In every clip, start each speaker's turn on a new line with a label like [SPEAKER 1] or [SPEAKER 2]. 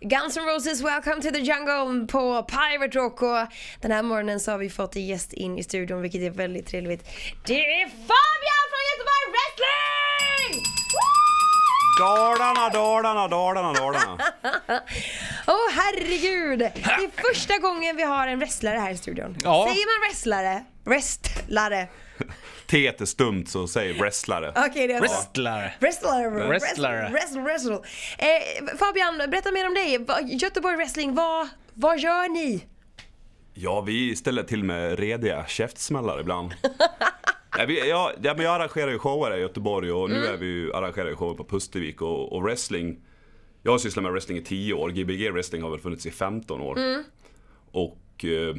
[SPEAKER 1] Guns N' Roses Welcome to the Jungle på Pirate Rock och den här morgonen så har vi fått en gäst in i studion vilket är väldigt trevligt. Det är Fabian från Göteborg Wrestling!
[SPEAKER 2] Dalarna, Dalarna, Dalarna, Dalarna.
[SPEAKER 1] Åh herregud! Det är första gången vi har en wrestlare här i studion.
[SPEAKER 3] Ja.
[SPEAKER 1] Säger man wrestlare? Wrestlare.
[SPEAKER 2] T är stumt så säg wrestlare.
[SPEAKER 1] Okej, det är bra.
[SPEAKER 3] Wrestlare.
[SPEAKER 1] Wrestlare.
[SPEAKER 3] Wrestlare.
[SPEAKER 1] Wrestle, wrestle. Eh, Fabian, berätta mer om dig. Va- Göteborg Wrestling, vad, vad gör ni?
[SPEAKER 2] Ja, vi ställer till med rediga käftsmällar ibland. Ja, vi, ja, ja, men jag arrangerar ju shower här i Göteborg och nu är vi ju arrangerar ju shower på Pustervik och, och wrestling. Jag har sysslat med wrestling i 10 år, Gbg wrestling har väl funnits i 15 år. Och eh,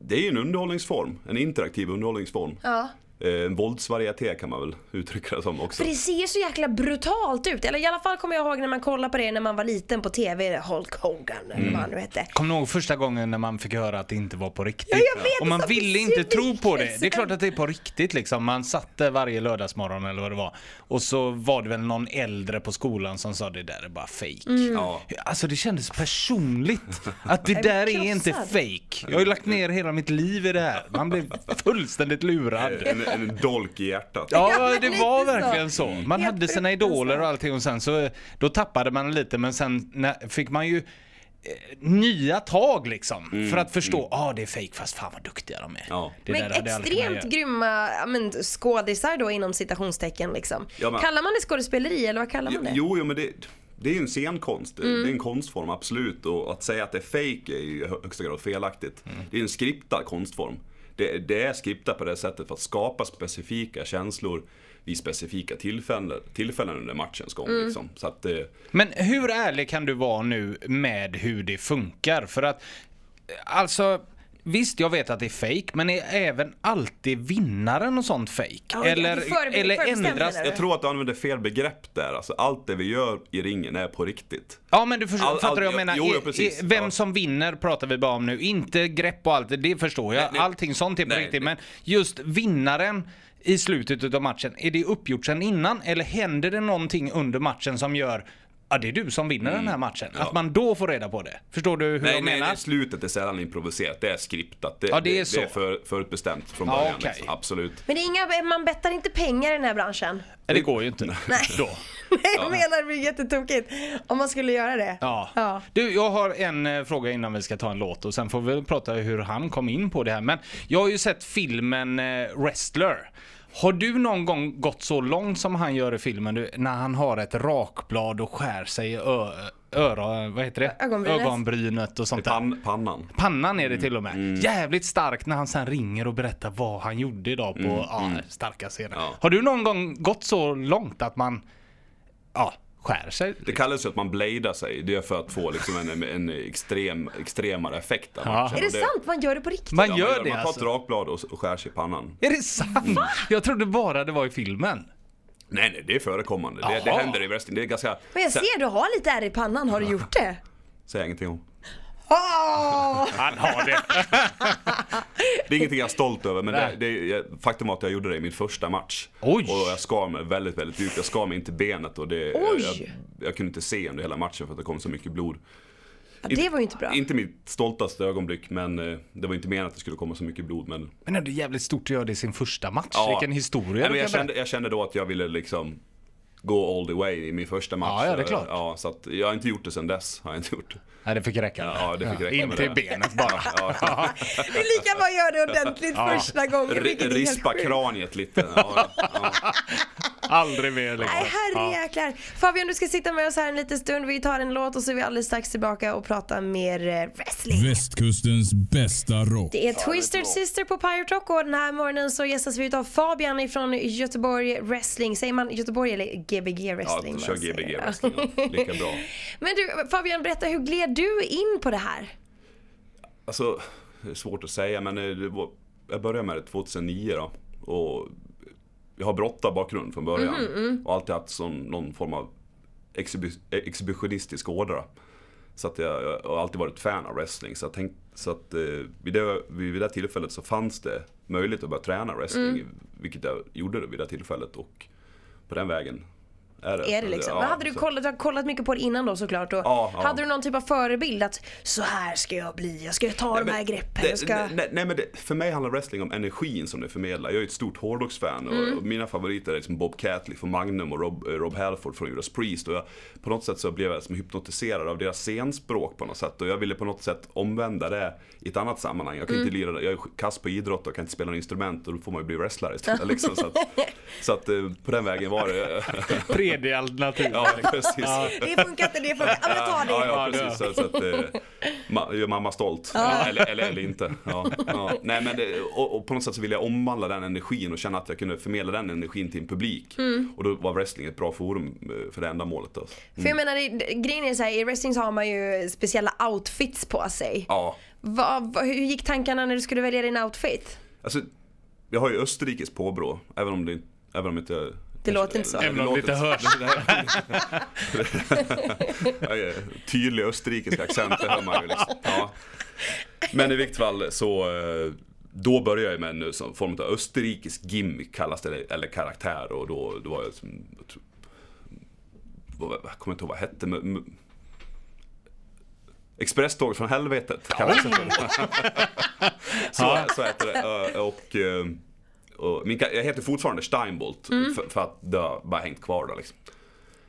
[SPEAKER 2] det är ju en underhållningsform, en interaktiv underhållningsform.
[SPEAKER 1] Ja.
[SPEAKER 2] Eh, en våldsvarieté kan man väl uttrycka det som också.
[SPEAKER 1] För det ser så jäkla brutalt ut. Eller i alla fall kommer jag ihåg när man kollade på det när man var liten på TV, Hulk Hogan eller vad han
[SPEAKER 3] Mm.
[SPEAKER 1] nu hette.
[SPEAKER 3] Kom ni ihåg första gången när man fick höra att det inte var på riktigt?
[SPEAKER 1] Ja, jag vet,
[SPEAKER 3] och man
[SPEAKER 1] så
[SPEAKER 3] ville inte tro på det. Det är
[SPEAKER 1] besvikelsen.
[SPEAKER 3] klart att det är på riktigt liksom. Man satt där varje lördagsmorgon eller vad det var. Och så var det väl någon äldre på skolan som sa det där är bara fake.
[SPEAKER 1] Mm.
[SPEAKER 2] Ja.
[SPEAKER 3] Alltså det kändes personligt. Att det
[SPEAKER 1] Jag
[SPEAKER 3] där
[SPEAKER 1] blir
[SPEAKER 3] är inte
[SPEAKER 1] krossad.
[SPEAKER 3] fake. Jag har ju lagt ner hela mitt liv i det här. Man blev fullständigt lurad.
[SPEAKER 2] En, en dolk i hjärtat.
[SPEAKER 3] Ja,
[SPEAKER 1] men
[SPEAKER 3] det
[SPEAKER 1] lite
[SPEAKER 3] var
[SPEAKER 1] så.
[SPEAKER 3] verkligen så. Man
[SPEAKER 1] Helt
[SPEAKER 3] hade sina
[SPEAKER 1] fruktansvärt.
[SPEAKER 3] idoler och allting och sen så eh, då tappade man lite men sen när, fick man ju eh, nya tag liksom för att förstå, ja ah, det är fake fast fan vad duktiga de är.
[SPEAKER 2] Ja.
[SPEAKER 3] Det
[SPEAKER 1] Men
[SPEAKER 3] där hade jag aldrig kunnat
[SPEAKER 1] extremt
[SPEAKER 3] göra.
[SPEAKER 1] grymma ja, men, skådisar då inom citationstecken liksom.
[SPEAKER 2] Ja, men-
[SPEAKER 1] Kallar man det skådespeleri eller vad kallar man det?
[SPEAKER 2] Jo, jo men det, det är ju en scenkonst. Det- Det är en konstform, absolut. Och att säga att det är fake är ju i hö- högsta grad felaktigt.
[SPEAKER 3] Mm.
[SPEAKER 2] Det är en skriptad konstform. Det, det är skriptat på det sättet för att skapa specifika känslor vid specifika tillfällen, tillfällen under matchens gång. Liksom. Så att, eh,
[SPEAKER 3] Men hur ärlig kan du vara nu med hur det funkar? För att, eh, alltså Visst, jag vet att det är fake, men är även alltid vinnaren och sånt fake?
[SPEAKER 1] Ja, det är
[SPEAKER 3] eller
[SPEAKER 1] förbe-
[SPEAKER 3] eller
[SPEAKER 1] förbestämt,
[SPEAKER 3] ändras...
[SPEAKER 1] menar du?
[SPEAKER 2] jag tror att du använder fel begrepp där. Alltså, allt det vi gör i ringen är på riktigt.
[SPEAKER 3] Ja men du förstår,
[SPEAKER 2] All-
[SPEAKER 3] fattar du
[SPEAKER 2] all-
[SPEAKER 3] vad jag
[SPEAKER 2] ja,
[SPEAKER 3] menar?
[SPEAKER 2] jo, ja,
[SPEAKER 3] I-
[SPEAKER 2] precis.
[SPEAKER 3] i- Vem
[SPEAKER 2] Ja.
[SPEAKER 3] som vinner pratar vi bara om nu, inte grepp och allt, det förstår jag.
[SPEAKER 2] nej.
[SPEAKER 3] Allting sånt är på
[SPEAKER 2] Nej,
[SPEAKER 3] riktigt.
[SPEAKER 2] nej.
[SPEAKER 3] Men just vinnaren i slutet av matchen, är det uppgjort sen innan? Eller händer det någonting under matchen som gör Ja det är du som vinner den här matchen. Att man då får reda på det. Förstår du hur
[SPEAKER 2] Mm. Nej,
[SPEAKER 3] jag
[SPEAKER 2] nej,
[SPEAKER 3] menar?
[SPEAKER 2] nej, slutet är sällan improviserat. Det är skriptat. Det,
[SPEAKER 3] Ja, det är så.
[SPEAKER 2] det är för, förutbestämt från
[SPEAKER 3] Ja,
[SPEAKER 2] början.
[SPEAKER 3] okej.
[SPEAKER 2] liksom. Absolut.
[SPEAKER 1] Men det är inga, man bettar inte pengar i den här branschen.
[SPEAKER 3] det går ju inte då.
[SPEAKER 1] Nej, jag menar det blir jättetokigt om man skulle göra det.
[SPEAKER 3] Ja.
[SPEAKER 1] ja.
[SPEAKER 3] Du, jag har en eh, fråga innan vi ska ta en låt och sen får vi väl prata hur han kom in på det här. Men jag har ju sett filmen eh, Wrestler. Har du någon gång gått så långt som han gör i filmen du, när han har ett rakblad och skär sig i ö- öra, vad heter det?
[SPEAKER 1] Ögonbrynet.
[SPEAKER 3] ögonbrynet och sånt där.
[SPEAKER 2] Pan, pannan. Mm.
[SPEAKER 3] Pannan är det till och med. Jävligt starkt när han sen ringer och berättar vad han gjorde idag på ja, starka scener.
[SPEAKER 2] Mm. Ja.
[SPEAKER 3] Har du någon gång gått så långt att man ja, skär sig?
[SPEAKER 2] Det kallas ju att man bladar sig. Det är för att få liksom en, en extrem, extremare effekt av
[SPEAKER 3] Ja.
[SPEAKER 2] matchen.
[SPEAKER 1] Är det,
[SPEAKER 2] Och
[SPEAKER 1] sant? Man gör det på riktigt?
[SPEAKER 3] Man
[SPEAKER 2] Ja,
[SPEAKER 3] gör
[SPEAKER 2] man, gör,
[SPEAKER 3] det
[SPEAKER 2] man tar
[SPEAKER 3] alltså?
[SPEAKER 2] ett rakblad och, och skär sig i pannan.
[SPEAKER 3] Är det sant? Jag trodde bara det var i filmen.
[SPEAKER 2] Nej, nej, det är förekommande. Det, det
[SPEAKER 3] Jaha.
[SPEAKER 2] händer i wrestling. Det är ganska...
[SPEAKER 1] Men jag ser du har lite ärr i pannan, har du gjort det? Ah!
[SPEAKER 2] Säg ingenting om.
[SPEAKER 1] Åh!
[SPEAKER 3] Han har det.
[SPEAKER 2] Det är ingenting jag är stolt över, men
[SPEAKER 3] Nej.
[SPEAKER 2] det, det, jag- faktum är att jag gjorde det i min första match.
[SPEAKER 3] Oj.
[SPEAKER 2] Och jag skar mig väldigt, väldigt djupt. Jag skar mig inte benet och det, jag,
[SPEAKER 1] Oj.
[SPEAKER 2] jag, jag kunde inte se under hela matchen för att det kom så mycket blod.
[SPEAKER 1] Ja, det var ju inte bra.
[SPEAKER 2] Inte mitt stoltaste ögonblick, men eh, det var inte meningen att det skulle komma så mycket blod. Men
[SPEAKER 3] Men ändå jävligt stort att göra det i sin första match.
[SPEAKER 2] Ja.
[SPEAKER 3] Vilken historia
[SPEAKER 2] Nej, men
[SPEAKER 3] du
[SPEAKER 2] jag,
[SPEAKER 3] kan
[SPEAKER 2] kände, jag kände då att jag ville liksom gå all the way i min första match.
[SPEAKER 3] Ja, ja, det är klart.
[SPEAKER 2] Ja, så att jag har inte gjort det sen dess. Har jag inte gjort.
[SPEAKER 3] berätta. Nej, det fick räcka.
[SPEAKER 2] Ja, det fick räcka med
[SPEAKER 3] Inte i
[SPEAKER 2] det.
[SPEAKER 3] benet bara.
[SPEAKER 2] Ja.
[SPEAKER 1] Det är lika bra att göra det ordentligt första gången. vilket
[SPEAKER 2] R-
[SPEAKER 1] är helt
[SPEAKER 2] rispa
[SPEAKER 1] sjukt.
[SPEAKER 2] kraniet lite. Ja, ja.
[SPEAKER 3] Aldrig mer liksom.
[SPEAKER 1] Nej herrejäklar. Fabian du ska sitta med oss här en liten stund. Vi tar en låt och så är vi alldeles strax tillbaka och pratar mer eh, wrestling.
[SPEAKER 2] Mm.
[SPEAKER 4] Västkustens bästa rock.
[SPEAKER 1] Det är Twisted Sister på Pirate Rock och den här morgonen så gästas vi av Fabian ifrån Göteborg Wrestling. Säger man Göteborg eller Gbg
[SPEAKER 2] Ja,
[SPEAKER 1] Wrestling?
[SPEAKER 2] kör
[SPEAKER 1] vad säger
[SPEAKER 2] Gbg
[SPEAKER 1] jag?
[SPEAKER 2] wrestling. Ja. Lika bra.
[SPEAKER 1] Men du Fabian berätta, hur gled du in på det här?
[SPEAKER 2] Alltså, det är svårt att säga men eh, det var, jag började med det 2009 då. Och jag har brottarbakgrund från början.
[SPEAKER 1] Mhm, mm.
[SPEAKER 2] Och alltid haft sån, någon form av exhibi, exhibitionistisk ådra. Så att jag, jag har alltid varit fan av wrestling. Så, jag tänkt, så att eh, vid, det, vid vid det tillfället så fanns det
[SPEAKER 1] Mm.
[SPEAKER 2] möjlighet att börja träna wrestling. Vilket jag gjorde vid det tillfället. Och på den vägen Är det,
[SPEAKER 1] Är det liksom.
[SPEAKER 2] Ja,
[SPEAKER 1] Men hade du
[SPEAKER 2] så-
[SPEAKER 1] kollat, du har kollat mycket på det innan då såklart? Och
[SPEAKER 2] Ja, ja.
[SPEAKER 1] Hade du någon typ av förebild att så här ska jag bli, jag ska ta de här greppen,
[SPEAKER 2] det-
[SPEAKER 1] jag ska...
[SPEAKER 2] nej, nej, nej men det, för mig handlar wrestling om energin som det förmedlar. Jag är ju ett stort hårdrocksfan och,
[SPEAKER 1] Mm.
[SPEAKER 2] och mina favoriter är liksom Bob Catley från Magnum och Rob, eh, Rob Halford från Judas Priest. Och jag, på något sätt så blev jag liksom hypnotiserad av deras scenspråk på något sätt. Och jag ville på något sätt omvända det i ett annat sammanhang. Jag kan
[SPEAKER 1] Mm.
[SPEAKER 2] inte lira, jag är kass på idrott och kan inte spela något instrument och då får man ju bli wrestler istället. Liksom, så att, så att eh, på den vägen var det.
[SPEAKER 3] Tredje alternativ.
[SPEAKER 2] ja, precis.
[SPEAKER 1] Det funkar inte, det funkar Ja men jag tar det.
[SPEAKER 2] Ja, ja
[SPEAKER 3] Ja,
[SPEAKER 2] precis. Så, så att, eh, ma- gör mamma stolt. Eller, eller, eller inte. Ja, ja. Nej, men det, och, och på något sätt så ville jag omvandla den energin och känna att jag kunde förmedla den energin till en publik.
[SPEAKER 1] Mm.
[SPEAKER 2] Och då var wrestling ett bra forum eh, för det ändamålet. Då.
[SPEAKER 1] För jag menar, det- grejen är så här, i wrestling så har man ju speciella outfits på sig.
[SPEAKER 2] Ja.
[SPEAKER 1] Va, va, hur gick tankarna när du skulle välja din outfit?
[SPEAKER 2] Alltså, jag har ju Österrikes påbrå, även om det även om inte
[SPEAKER 1] Det låter inte så.
[SPEAKER 2] Nej,
[SPEAKER 3] Även om det inte
[SPEAKER 2] låter
[SPEAKER 3] hörs.
[SPEAKER 2] Ja, Tydlig österrikisk accent, det hör man ju liksom. Ja. Men i vilket fall så eh, då började jag med en sån form av österrikisk gimmick kallas det, eller- eller karaktär och då, då var jag som, jag tror- vad- jag kommer inte ihåg vad det hette men men- Expresståg från helvetet kallas det för. så, så heter det. Eh, Och, eh, och min, ka- jag heter fortfarande Steinbolt
[SPEAKER 1] Mm.
[SPEAKER 2] för, för att det har bara hängt kvar då liksom.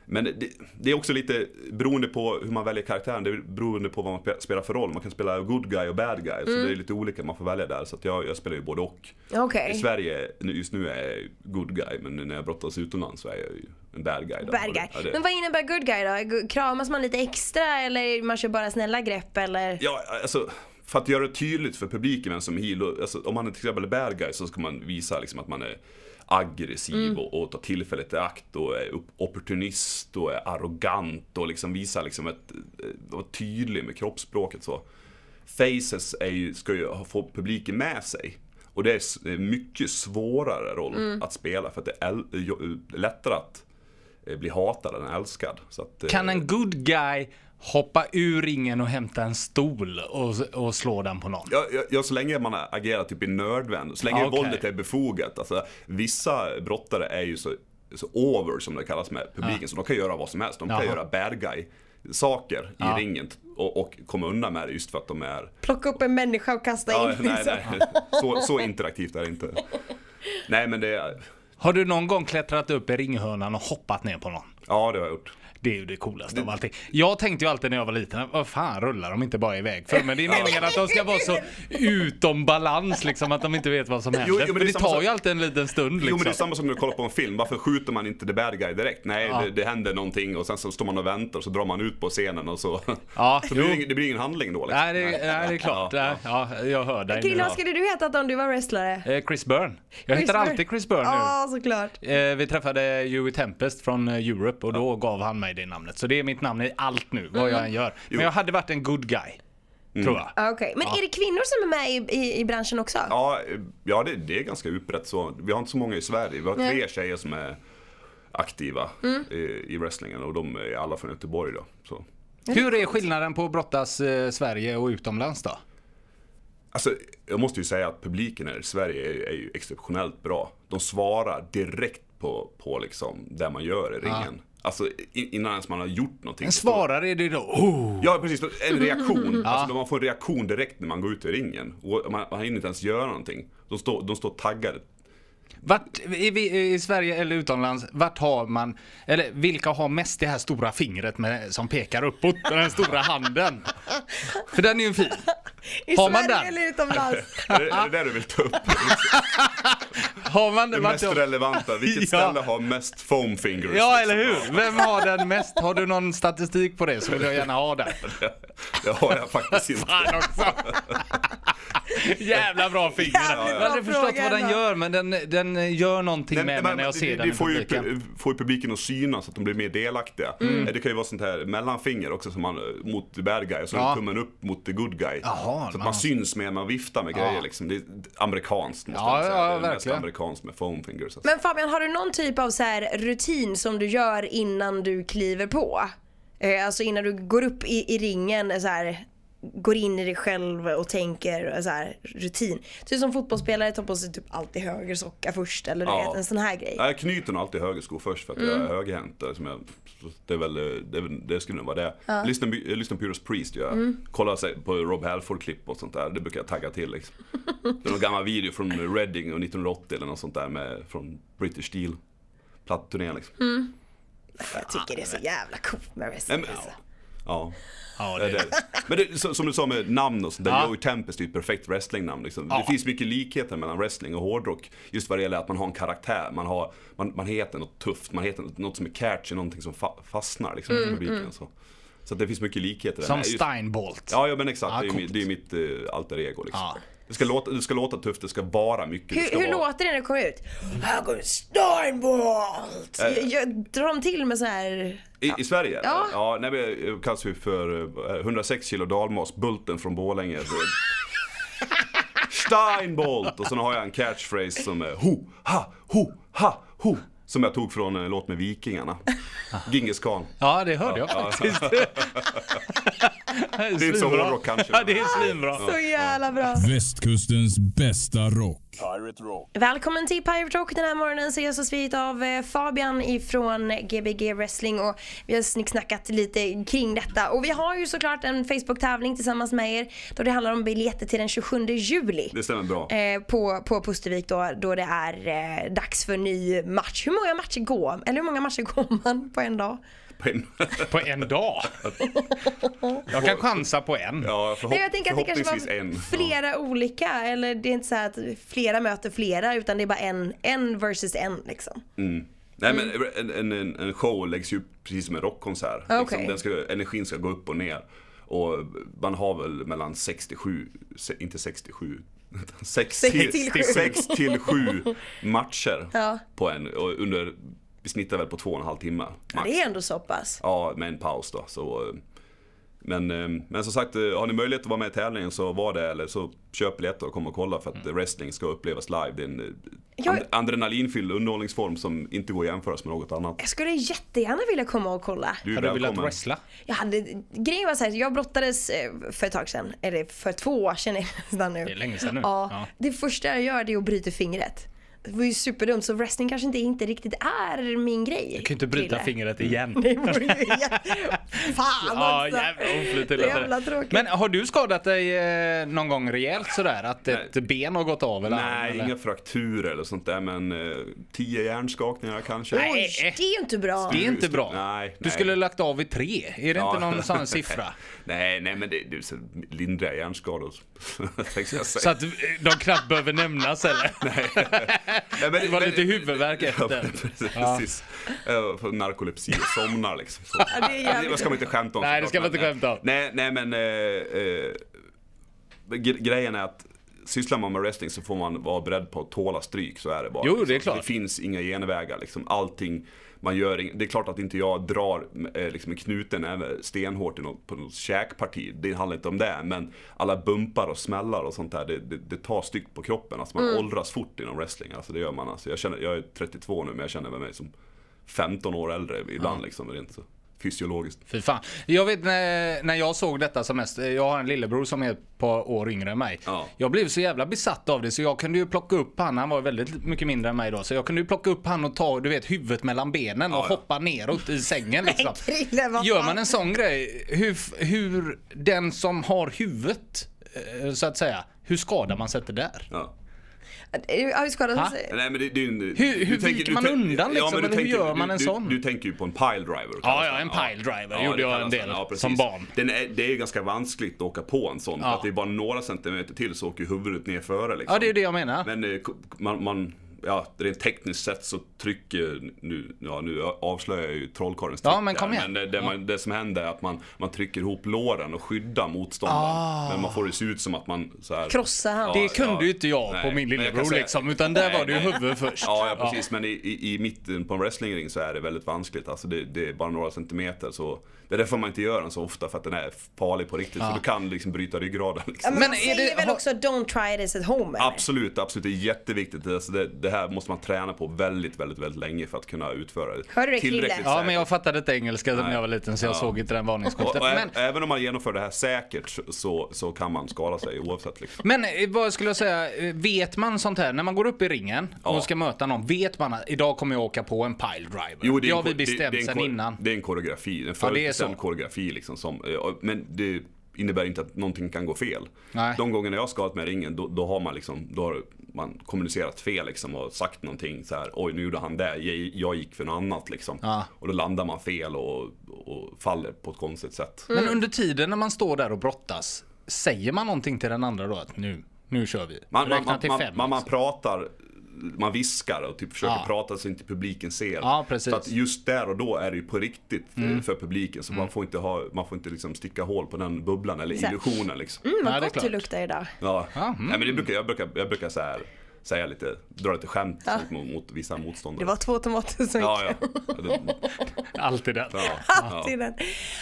[SPEAKER 2] Men det, det är också lite beroende på hur man väljer karaktären, det är beroende på vad man spe- spelar för roll. Man kan spela good guy och bad guy, så
[SPEAKER 1] Mm.
[SPEAKER 2] det är lite olika man får välja där. Så att jag, jag spelar ju både och.
[SPEAKER 1] Okej.
[SPEAKER 2] I Sverige nu- just nu är jag ju good guy, men nu när jag brottas utomlands så är jag ju en bad guy. där.
[SPEAKER 1] Bad guy.
[SPEAKER 2] Ja, det-
[SPEAKER 1] Men vad innebär good guy då? Gu- Kramas man lite extra eller man kör bara snälla grepp eller?
[SPEAKER 2] Ja, alltså för att göra det tydligt för publiken vem som är heel, och- alltså, om man är till exempel bad guy så ska man visa liksom att man är aggressiv
[SPEAKER 3] Mm.
[SPEAKER 2] och, och tar tillfället i akt och är upp- opportunist och är arrogant och liksom visar liksom ett, eh, vara tydlig med kroppsspråket så. Faces är ju, ska ju ha- få publiken med sig. Och det är s- eh, mycket svårare roll
[SPEAKER 3] Mm.
[SPEAKER 2] att spela för att det är äl- eh, jo- lättare att eh, bli hatad än älskad. Så att, eh,
[SPEAKER 3] Kan en good guy hoppa ur ringen och hämta en stol och, och slå den på någon?
[SPEAKER 2] Ja, ja, ja, så länge man agerar typ i nödvänd, så länge
[SPEAKER 3] Ah, okej.
[SPEAKER 2] våldet är befogat. Alltså, vissa brottare är ju så, så over som det kallas med publiken, så de kan göra vad som helst. De kan
[SPEAKER 3] Ah. Jaha. Ah.
[SPEAKER 2] göra bad guy saker i ringen t- och, och komma undan med det just för att de är...
[SPEAKER 1] Plocka upp en människa och kasta
[SPEAKER 2] Ja,
[SPEAKER 1] in
[SPEAKER 2] nej,
[SPEAKER 1] liksom.
[SPEAKER 2] nej. Så, så interaktivt är det inte. Nej men det,
[SPEAKER 3] Har du någon gång klättrat upp i ringhörnan och hoppat ner på någon?
[SPEAKER 2] ja det har jag gjort.
[SPEAKER 3] Det är ju det coolaste
[SPEAKER 2] Mm.
[SPEAKER 3] av allting. Jag tänkte ju alltid när jag var liten, vad fan rullar de inte bara iväg för? Men det är meningen att de ska vara så utom balans liksom, att de inte vet vad som händer.
[SPEAKER 2] jo, men
[SPEAKER 3] men
[SPEAKER 2] det
[SPEAKER 3] det,
[SPEAKER 2] är samma
[SPEAKER 3] tar
[SPEAKER 2] sak-
[SPEAKER 3] ju alltid en liten stund
[SPEAKER 2] Jo
[SPEAKER 3] liksom. Ah.
[SPEAKER 2] men det är samma som när du kollar på en film, varför skjuter man inte the bad guy direkt? Nej, det, det händer någonting och sen så står man och väntar och så drar man ut på scenen och så...
[SPEAKER 3] Ja,
[SPEAKER 2] så blir
[SPEAKER 3] Ah, jo.
[SPEAKER 2] det, ingen- det blir ingen handling då liksom.
[SPEAKER 3] Nej, det, nej, det är klart.
[SPEAKER 2] Ja,
[SPEAKER 3] Ja, ja, jag hör dig nu.
[SPEAKER 1] Krille, vad skulle du heta om du var wrestlare?
[SPEAKER 3] Eh, Chris Byrne. Jag
[SPEAKER 1] Chris
[SPEAKER 3] heter
[SPEAKER 1] Byrne.
[SPEAKER 3] alltid Chris Byrne nu.
[SPEAKER 1] Ja, såklart.
[SPEAKER 3] Eh, vi träffade Joey Tempest från eh, Europe och då gav han mig det namnet. Så det är mitt namn i allt nu, vad jag än gör. Men jag hade varit en good guy,
[SPEAKER 2] Mm.
[SPEAKER 3] tror jag.
[SPEAKER 1] Mm. Ja, Okej, men är det kvinnor som är med i, i, i branschen också?
[SPEAKER 2] Ja, eh, ja det, det är ganska utbrett så. Vi har inte så många i Sverige. Vi har
[SPEAKER 1] Nej.
[SPEAKER 2] tre tjejer som är aktiva eh, i wrestlingen och de är alla från Göteborg då. Så.
[SPEAKER 3] Hur är skillnaden på att brottas eh, Sverige och utomlands då?
[SPEAKER 2] Alltså, jag måste ju säga att publiken här i Sverige är, är ju exceptionellt bra. De svarar direkt på, på liksom det man gör i ringen. Alltså i- innan ens man har gjort någonting.
[SPEAKER 3] En svarare är det då. Oh.
[SPEAKER 2] Ja precis, en reaktion. Alltså, man får en reaktion direkt när man går ut i ringen. Och man, man hinner inte ens göra någonting. De står, de står taggade.
[SPEAKER 3] Vart, i, vi- I Sverige eller utomlands, vart har man, eller vilka har mest det här stora fingret med, som pekar uppåt, den stora handen? För den är ju fin.
[SPEAKER 1] I
[SPEAKER 3] har man
[SPEAKER 1] Sverige
[SPEAKER 3] den?
[SPEAKER 1] eller utomlands?
[SPEAKER 2] Är det, är det där du vill ta upp?
[SPEAKER 3] Har man
[SPEAKER 2] Det
[SPEAKER 3] vart-
[SPEAKER 2] mest relevanta, vilket
[SPEAKER 3] Ja.
[SPEAKER 2] ställe har mest foam fingers?
[SPEAKER 3] Ja,
[SPEAKER 2] liksom?
[SPEAKER 3] eller hur? Vem har den mest? Har du någon statistik på det så vill jag gärna ha den.
[SPEAKER 2] Det har jag faktiskt inte.
[SPEAKER 3] Fan också! Jävla bra finger!
[SPEAKER 1] Jävligt
[SPEAKER 3] Jag
[SPEAKER 1] bra
[SPEAKER 3] har aldrig förstått
[SPEAKER 1] fråga
[SPEAKER 3] vad den
[SPEAKER 1] ändå.
[SPEAKER 3] gör, men den, den gör någonting med mig när jag ser
[SPEAKER 2] det,
[SPEAKER 3] den
[SPEAKER 2] det
[SPEAKER 3] i
[SPEAKER 2] får, ju,
[SPEAKER 3] publiken.
[SPEAKER 2] pu- får ju publiken att synas, så att de blir mer delaktiga.
[SPEAKER 3] Mm.
[SPEAKER 2] Det kan ju vara sånt här mellanfinger också, som man, eh, mot the bad guy, och så
[SPEAKER 3] Ja.
[SPEAKER 2] tummen upp mot the good guy.
[SPEAKER 3] Jaha,
[SPEAKER 2] så att man
[SPEAKER 3] man-
[SPEAKER 2] syns mer, man viftar med grejer liksom. Det är amerikanskt måste
[SPEAKER 3] Ja,
[SPEAKER 2] man säga.
[SPEAKER 3] ja,
[SPEAKER 2] det är mest
[SPEAKER 3] verkligen.
[SPEAKER 2] amerikanskt med foam fingers. Alltså.
[SPEAKER 1] Men Fabian, har du någon typ av så här rutin som du gör innan du kliver på? Eh, alltså innan du går upp i, i ringen, så här, går in i dig själv och tänker eh, så här, rutin. Typ som fotbollsspelare tar på sig typ alltid höger socka först eller du
[SPEAKER 2] Ja.
[SPEAKER 1] vet, en sån här grej.
[SPEAKER 2] Jag knyter nog alltid höger sko först för att jag är högerhänt. Det, är som jag, det, är väl, det, är väl- det skulle nog vara det. Lyssnar, my- jag lyssnar på Judas Priest gör jag. Kollar sig på Rob Halford-klipp och sånt där. Det brukar jag tagga till liksom. Det är någon gammal video från Reading och 1980 eller något sånt där med, från British Steel. Platturnén liksom.
[SPEAKER 1] Jag tycker det är så jävla coolt med
[SPEAKER 2] Nej,
[SPEAKER 1] wrestling.
[SPEAKER 2] men,
[SPEAKER 1] alltså.
[SPEAKER 2] ja.
[SPEAKER 3] Ja,
[SPEAKER 2] Ja, det är det. Men det, så- som du sa med namn och sånt där, Joey Tempest är ju ett perfekt wrestlingnamn. Liksom. Det finns mycket likheter mellan wrestling och hårdrock. Just vad det gäller att man har en karaktär, man, har, man, man heter något tufft, man heter något, något som är catchy, någonting som fa- fastnar liksom,
[SPEAKER 1] Mm,
[SPEAKER 2] i publiken. Så, så att det finns mycket likheter. där.
[SPEAKER 3] Som
[SPEAKER 2] Nej, just-
[SPEAKER 3] Steinbolt.
[SPEAKER 2] Ja, ja men exakt.
[SPEAKER 3] Ja,
[SPEAKER 2] det, är ju,
[SPEAKER 3] coolt.
[SPEAKER 2] mi- det är ju mitt eh, alter ego liksom.
[SPEAKER 3] Ja.
[SPEAKER 2] Det, ska låta, det ska låta tufft, det ska vara mycket. det
[SPEAKER 1] Hur,
[SPEAKER 2] ska
[SPEAKER 1] hur
[SPEAKER 2] vara...
[SPEAKER 1] låter det när det kommer ut? Här går Steinbolt! Jag, jag drar dem till med så här...
[SPEAKER 2] I, I Sverige?
[SPEAKER 1] Ja.
[SPEAKER 2] ja nej, men jag kallas ju för eh, 106 kilo dalmas, Bulten från Borlänge. Så- Steinbolt! Och sen har jag en catchphrase som är ho, ha, ho, ha, ho. Som jag tog från en låt med Vikingarna. Djingis khan.
[SPEAKER 3] Ja, det hörde jag faktiskt. det
[SPEAKER 2] inte så
[SPEAKER 3] svinbra.
[SPEAKER 2] hårdrock kanske.
[SPEAKER 3] Ja, det är svinbra.
[SPEAKER 1] Så jävla bra.
[SPEAKER 4] Västkustens bästa rock.
[SPEAKER 1] Välkommen till Pirate Rock den här morgonen så gästas vi av eh, Fabian ifrån Gbg Wrestling och vi har snicksnackat lite kring detta. Och vi har ju såklart en Facebook-tävling tillsammans med er då det handlar om biljetter till den 27 juli.
[SPEAKER 2] Det stämmer bra.
[SPEAKER 1] Eh, på, på Pustervik då, då det är eh, dags för ny match. Hur många matcher går, eller hur många matcher går man på en dag?
[SPEAKER 3] På en dag. Jag kan chansa på en.
[SPEAKER 2] Ja, förhopp-
[SPEAKER 1] Nej, jag tänker att det
[SPEAKER 2] förhoppningsvis
[SPEAKER 1] kanske var
[SPEAKER 2] en. Ja.
[SPEAKER 1] flera olika, eller det är inte så här att flera möter flera utan det är bara en, en versus en liksom.
[SPEAKER 2] Nej men
[SPEAKER 1] Mm.
[SPEAKER 2] en, en- en, en show läggs ju upp precis som en rockkonsert.
[SPEAKER 1] Ah, Okej.
[SPEAKER 2] Liksom, den ska, energin ska gå upp och ner. Och man har väl mellan 67, se- inte 67,
[SPEAKER 1] Sex
[SPEAKER 2] 6 till,
[SPEAKER 1] till sju.
[SPEAKER 2] sex till 7 matcher
[SPEAKER 1] Ja.
[SPEAKER 2] på en, och under, vi snittar väl på två och en halv timme.
[SPEAKER 1] Ja,
[SPEAKER 2] Max.
[SPEAKER 1] det är ändå så pass.
[SPEAKER 2] Ja, med en paus då. Så, eh, men, eh, men som sagt, eh, har ni möjlighet att vara med i tävlingen så var det, eller så köp biljetter och kom och kolla för att
[SPEAKER 3] Mm.
[SPEAKER 2] eh, wrestling ska upplevas live. Det är en eh,
[SPEAKER 1] Jag-
[SPEAKER 2] and- adrenalinfylld underhållningsform som inte går att jämföras med något annat.
[SPEAKER 1] Jag skulle jättegärna vilja komma och kolla.
[SPEAKER 2] Du
[SPEAKER 3] Har
[SPEAKER 2] är
[SPEAKER 3] du velat
[SPEAKER 2] välkommen.
[SPEAKER 3] wrestla?
[SPEAKER 1] Jag hade, grejen var så här, jag brottades eh, för ett tag sedan, eller för två år sedan är det nästan nu.
[SPEAKER 3] Det är länge sedan nu.
[SPEAKER 1] Ja,
[SPEAKER 3] Ja.
[SPEAKER 1] Det första jag gör det är att bryta fingret. Det var ju superdumt så wrestling kanske inte, inte riktigt är min grej.
[SPEAKER 3] Du kan ju inte bryta fingret igen.
[SPEAKER 1] Det vore ju jä- Fan
[SPEAKER 3] Ja,
[SPEAKER 1] också!
[SPEAKER 3] jävla oflyt
[SPEAKER 1] Det är jävla tråkigt.
[SPEAKER 3] Men har du skadat dig eh, någon gång rejält sådär? Att ett ben har gått av eller
[SPEAKER 2] Nej,
[SPEAKER 3] eller?
[SPEAKER 2] inga frakturer eller sånt där men eh, tio hjärnskakningar kanske.
[SPEAKER 3] Nej.
[SPEAKER 1] Oj, det är ju inte bra.
[SPEAKER 3] Det är inte bra.
[SPEAKER 2] Nej,
[SPEAKER 3] du
[SPEAKER 2] nej.
[SPEAKER 3] skulle ha lagt av vid tre. Är det inte någon sån siffra?
[SPEAKER 2] nej, nej men det, det är så lindriga hjärnskador. tänkte jag säga.
[SPEAKER 3] Så att eh, de knappt behöver nämnas eller?
[SPEAKER 2] Nej, men-
[SPEAKER 3] Det var
[SPEAKER 2] men-
[SPEAKER 3] lite huvudvärk
[SPEAKER 2] Ja,
[SPEAKER 3] efter.
[SPEAKER 2] precis. Eh, för Narkolepsi och somnar liksom. Så.
[SPEAKER 1] Ja, det är jävligt
[SPEAKER 2] ska man inte skämta om.
[SPEAKER 3] Nej, det ska
[SPEAKER 2] såklart,
[SPEAKER 3] man inte
[SPEAKER 2] men-
[SPEAKER 3] skämta om.
[SPEAKER 2] Nej, nej men eh, eh, gre- grejen är att sysslar man med wrestling så får man vara beredd på att tåla stryk, så är det bara.
[SPEAKER 3] Jo, det är
[SPEAKER 2] liksom.
[SPEAKER 3] klart.
[SPEAKER 2] Det finns inga genvägar liksom. Allting man gör, ing- det är klart att inte jag drar eh, liksom en knuten näve stenhårt i något, på något käkparti. Det handlar inte om det. Men alla bumpar och smällar och sånt där, det, det, det tar styggt på kroppen. Alltså man åldras fort inom wrestling. Alltså det gör man. Alltså jag, känner, jag är 32 nu men jag känner mig som 15 år äldre ibland liksom. Rent så fysiologiskt.
[SPEAKER 3] Fy fan. Jag vet när, när jag såg detta som mest, jag har en lillebror som är ett par år yngre än mig.
[SPEAKER 2] Ja.
[SPEAKER 3] Jag blev så jävla besatt av det så jag kunde ju plocka upp han, han var väldigt mycket mindre än mig då, så jag kunde ju plocka upp han och ta du vet huvudet mellan benen och
[SPEAKER 2] Ja, ja.
[SPEAKER 3] hoppa neråt i sängen liksom.
[SPEAKER 1] Krille, vad
[SPEAKER 3] Gör
[SPEAKER 1] fan?
[SPEAKER 3] man en sån grej, hur, f- hur den som har huvudet eh, så att säga, hur skadar man sig inte där?
[SPEAKER 2] Ja.
[SPEAKER 1] Har vi skadat
[SPEAKER 3] Ha?
[SPEAKER 1] oss?
[SPEAKER 2] Nej, men det, det är ju en, hur
[SPEAKER 3] hur viker man undan liksom,
[SPEAKER 2] men du
[SPEAKER 3] eller hur
[SPEAKER 2] tänker-
[SPEAKER 3] gör man
[SPEAKER 2] du,
[SPEAKER 3] en
[SPEAKER 2] du,
[SPEAKER 3] sån?
[SPEAKER 2] Du tänker ju på en piledriver.
[SPEAKER 3] Ja, ja, en piledriver gjorde
[SPEAKER 2] det
[SPEAKER 3] jag en
[SPEAKER 2] kallas
[SPEAKER 3] del
[SPEAKER 2] den. precis.
[SPEAKER 3] som barn.
[SPEAKER 2] Den är, det är ju ganska vanskligt att åka på en sån.
[SPEAKER 3] Ja.
[SPEAKER 2] För att det är bara några centimeter till så åker ju huvudet ner före. Liksom.
[SPEAKER 3] Ja det är ju det jag menar.
[SPEAKER 2] Men eh, k- man, man, ja, rent tekniskt sett så trycker, nu, ja, nu avslöjar jag ju trollkarlens
[SPEAKER 3] Ja,
[SPEAKER 2] trick
[SPEAKER 3] men
[SPEAKER 2] där,
[SPEAKER 3] kom igen.
[SPEAKER 2] Men det, det, man, det som händer är att man, man trycker ihop låren och skyddar motståndaren. Men man får det se ut som att man så här,
[SPEAKER 1] Krossa han.
[SPEAKER 3] Ah. det kunde ju inte jag
[SPEAKER 2] Nej,
[SPEAKER 3] på min
[SPEAKER 2] men jag kan
[SPEAKER 3] lillebror
[SPEAKER 2] säga-
[SPEAKER 3] liksom, utan där
[SPEAKER 2] Nej,
[SPEAKER 3] var det ju
[SPEAKER 2] nej.
[SPEAKER 3] huvudet först.
[SPEAKER 2] Ja, ja precis. Men i, i, i mitten på en wrestlingring så är det väldigt vanskligt. Alltså det, det är bara några centimeter. Så det är därför man inte gör den så ofta, för att den är farlig på riktigt. Så du kan liksom bryta ryggraden. Liksom.
[SPEAKER 1] Men,
[SPEAKER 3] Men
[SPEAKER 1] man
[SPEAKER 3] är
[SPEAKER 1] säger
[SPEAKER 3] det-
[SPEAKER 1] väl
[SPEAKER 3] har-
[SPEAKER 1] också don't try this at home? eller?
[SPEAKER 2] Absolut, absolut. Det är jätteviktigt. Alltså det, det här måste man träna på väldigt, väldigt, väldigt länge för att kunna utföra det.
[SPEAKER 1] Hörde du det, Krille?
[SPEAKER 2] Tillräckligt
[SPEAKER 3] Ja,
[SPEAKER 2] säkert.
[SPEAKER 3] men jag fattade inte engelska när
[SPEAKER 2] Nej.
[SPEAKER 3] jag var liten så jag
[SPEAKER 2] Ja.
[SPEAKER 3] såg inte den
[SPEAKER 2] och,
[SPEAKER 3] varningsskylten.
[SPEAKER 2] och ä-
[SPEAKER 3] Men,
[SPEAKER 2] även om man genomför det här säkert så- så, så kan man skada sig oavsett. Liksom.
[SPEAKER 3] men eh, vad skulle jag säga, eh, vet man sånt här, när man går upp i ringen
[SPEAKER 2] Ja.
[SPEAKER 3] och ska möta någon, vet man att idag kommer jag åka på en pile driver? det har
[SPEAKER 2] en
[SPEAKER 3] vi
[SPEAKER 2] ko- det- det är
[SPEAKER 3] bestämt
[SPEAKER 2] en
[SPEAKER 3] sen
[SPEAKER 2] ko-
[SPEAKER 3] innan.
[SPEAKER 2] Det är en koreografi, en
[SPEAKER 3] så.
[SPEAKER 2] förutbestämd koreografi. Liksom som, ja, men det innebär inte att någonting kan gå fel.
[SPEAKER 3] Nej.
[SPEAKER 2] De gångerna jag har skadat mig i ringen, då, då har man liksom, då har man kommunicerat fel liksom och sagt någonting så här, oj nu gjorde han det, jag, jag gick för något annat liksom.
[SPEAKER 3] Ja.
[SPEAKER 2] Och då landar man fel och, och faller på ett konstigt sätt.
[SPEAKER 3] Men under tiden när man står där och brottas, säger man någonting till den andra då att nu, nu kör vi?
[SPEAKER 2] Man, man,
[SPEAKER 3] Räkna
[SPEAKER 2] man,
[SPEAKER 3] till
[SPEAKER 2] man,
[SPEAKER 3] fem.
[SPEAKER 2] man, man pratar, man viskar och typ försöker
[SPEAKER 3] Ja.
[SPEAKER 2] prata så inte publiken ser.
[SPEAKER 3] Ja, precis.
[SPEAKER 2] Så
[SPEAKER 3] Mm.
[SPEAKER 2] att just där och då är det ju på riktigt eh, för publiken. Så man får inte, ha, man får inte liksom sticka hål på den bubblan eller
[SPEAKER 1] Exakt.
[SPEAKER 2] illusionen. Liksom.
[SPEAKER 1] Mm,
[SPEAKER 3] Ja,
[SPEAKER 1] vad
[SPEAKER 3] det är
[SPEAKER 1] gott du
[SPEAKER 3] klart.
[SPEAKER 1] luktar idag.
[SPEAKER 2] Ja.
[SPEAKER 3] Ja, mm.
[SPEAKER 2] Nej, men det brukar, jag brukar, jag brukar så här, säga lite, dra lite skämt
[SPEAKER 1] Ja.
[SPEAKER 2] mot, mot vissa motståndare.
[SPEAKER 1] Det var två tomater som gick.
[SPEAKER 2] Ja, ja. Ja, det-
[SPEAKER 3] Alltid det.
[SPEAKER 2] ja, ja.
[SPEAKER 1] Alltid den.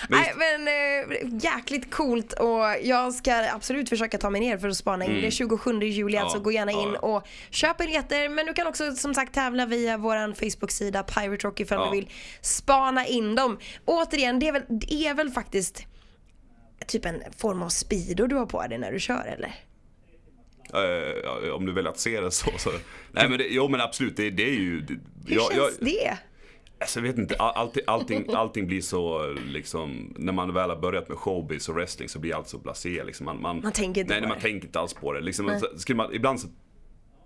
[SPEAKER 1] Nej, men eh, jäkligt coolt och jag ska absolut försöka ta mig ner för att spana in. Det är 27 juli
[SPEAKER 2] Mm. Ja,
[SPEAKER 1] alltså, gå gärna
[SPEAKER 2] ja,
[SPEAKER 1] in
[SPEAKER 2] ja.
[SPEAKER 1] och köp biljetter. Men du kan också som sagt tävla via vår Facebook-sida Pirate Rock ifall
[SPEAKER 2] Ja.
[SPEAKER 1] du vill spana in dem. Återigen, det är väl, det är väl faktiskt typ en form av speedo du har på dig när du kör eller?
[SPEAKER 2] Eh, ja, om du väljer att se det så. så. Nej, men det, jo men absolut, det, det är ju... Det,
[SPEAKER 1] Hur
[SPEAKER 2] jag- jag-
[SPEAKER 1] känns det?
[SPEAKER 2] Alltså, jag vet inte, all- allting, allting, allting blir så liksom, när man väl har börjat med showbiz och wrestling så blir allt så blasé. Liksom. Man, man,
[SPEAKER 1] Man tänker inte
[SPEAKER 2] nej,
[SPEAKER 1] på
[SPEAKER 2] nej, man
[SPEAKER 1] det.
[SPEAKER 2] tänker inte alls på det. Liksom, Men så, skulle man, ibland så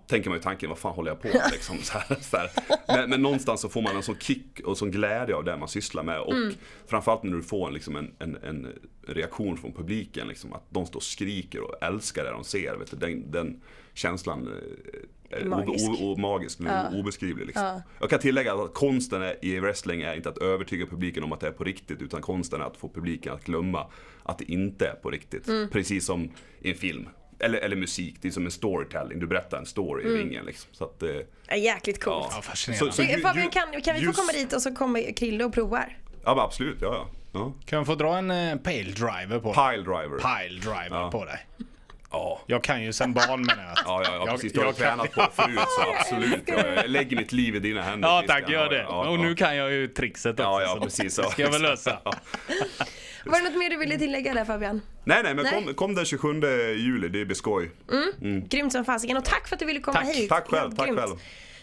[SPEAKER 2] tänker man ju tanken, vad fan håller jag på med? Liksom, så här, så här. Men, men någonstans så får man en sån kick och sån glädje av det man sysslar med. Och
[SPEAKER 1] Mm.
[SPEAKER 2] framförallt när du får en, liksom, en, en, en reaktion från publiken, liksom, att de står och skriker och älskar det de ser. Vet du, den, den känslan eh, är
[SPEAKER 1] Magisk.
[SPEAKER 2] o, o, och magisk, men obeskrivlig. Liksom. Jag kan tillägga att konsten är- i wrestling är inte att övertyga publiken om att det är på riktigt, utan konsten är att få publiken att glömma att det inte är på riktigt.
[SPEAKER 1] Mm.
[SPEAKER 2] Precis som i en film. Eller, eller musik, det är som en storytelling, du berättar en story
[SPEAKER 1] Mm.
[SPEAKER 2] i ringen. Liksom. Så att, eh,
[SPEAKER 1] Ja, Jäkligt coolt.
[SPEAKER 2] ja.
[SPEAKER 3] Ja, fascinerande.
[SPEAKER 1] Du,
[SPEAKER 2] ju-
[SPEAKER 1] Fabian,
[SPEAKER 2] ju-
[SPEAKER 1] kan, kan vi få
[SPEAKER 2] ljus-
[SPEAKER 1] komma dit och så kommer Krille och provar?
[SPEAKER 2] Ja men absolut, ja ja. ja.
[SPEAKER 3] Kan jag få dra en eh, pale driver på dig?
[SPEAKER 2] Pile driver.
[SPEAKER 3] Pile driver på dig.
[SPEAKER 2] Ja.
[SPEAKER 3] Jag kan ju sen barn menar jag.
[SPEAKER 2] Ja, ja, ja precis. Du har
[SPEAKER 3] jag kan-
[SPEAKER 2] tränat på det förut så absolut. Ja, jag lägger mitt liv i dina händer.
[SPEAKER 3] Ja
[SPEAKER 2] Christian.
[SPEAKER 3] tack, gör det.
[SPEAKER 2] Ja, ja,
[SPEAKER 3] Och nu
[SPEAKER 2] ja.
[SPEAKER 3] kan jag ju trickset också.
[SPEAKER 2] Ja, ja,
[SPEAKER 3] så
[SPEAKER 2] precis.
[SPEAKER 3] det ska jag väl lösa.
[SPEAKER 1] Var det något mer du
[SPEAKER 2] Mm.
[SPEAKER 1] ville tillägga där Fabian?
[SPEAKER 2] Nej, nej, men
[SPEAKER 1] Nej.
[SPEAKER 2] Kom, kom den 27 juli, det blir skoj.
[SPEAKER 1] Grymt som fasiken och tack för att du ville komma
[SPEAKER 3] Tack.
[SPEAKER 1] hit.
[SPEAKER 2] Tack själv,
[SPEAKER 1] Helt
[SPEAKER 2] tack
[SPEAKER 1] grymt.
[SPEAKER 2] själv.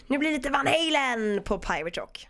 [SPEAKER 1] Nu blir det lite Van Halen på Pirate Rock.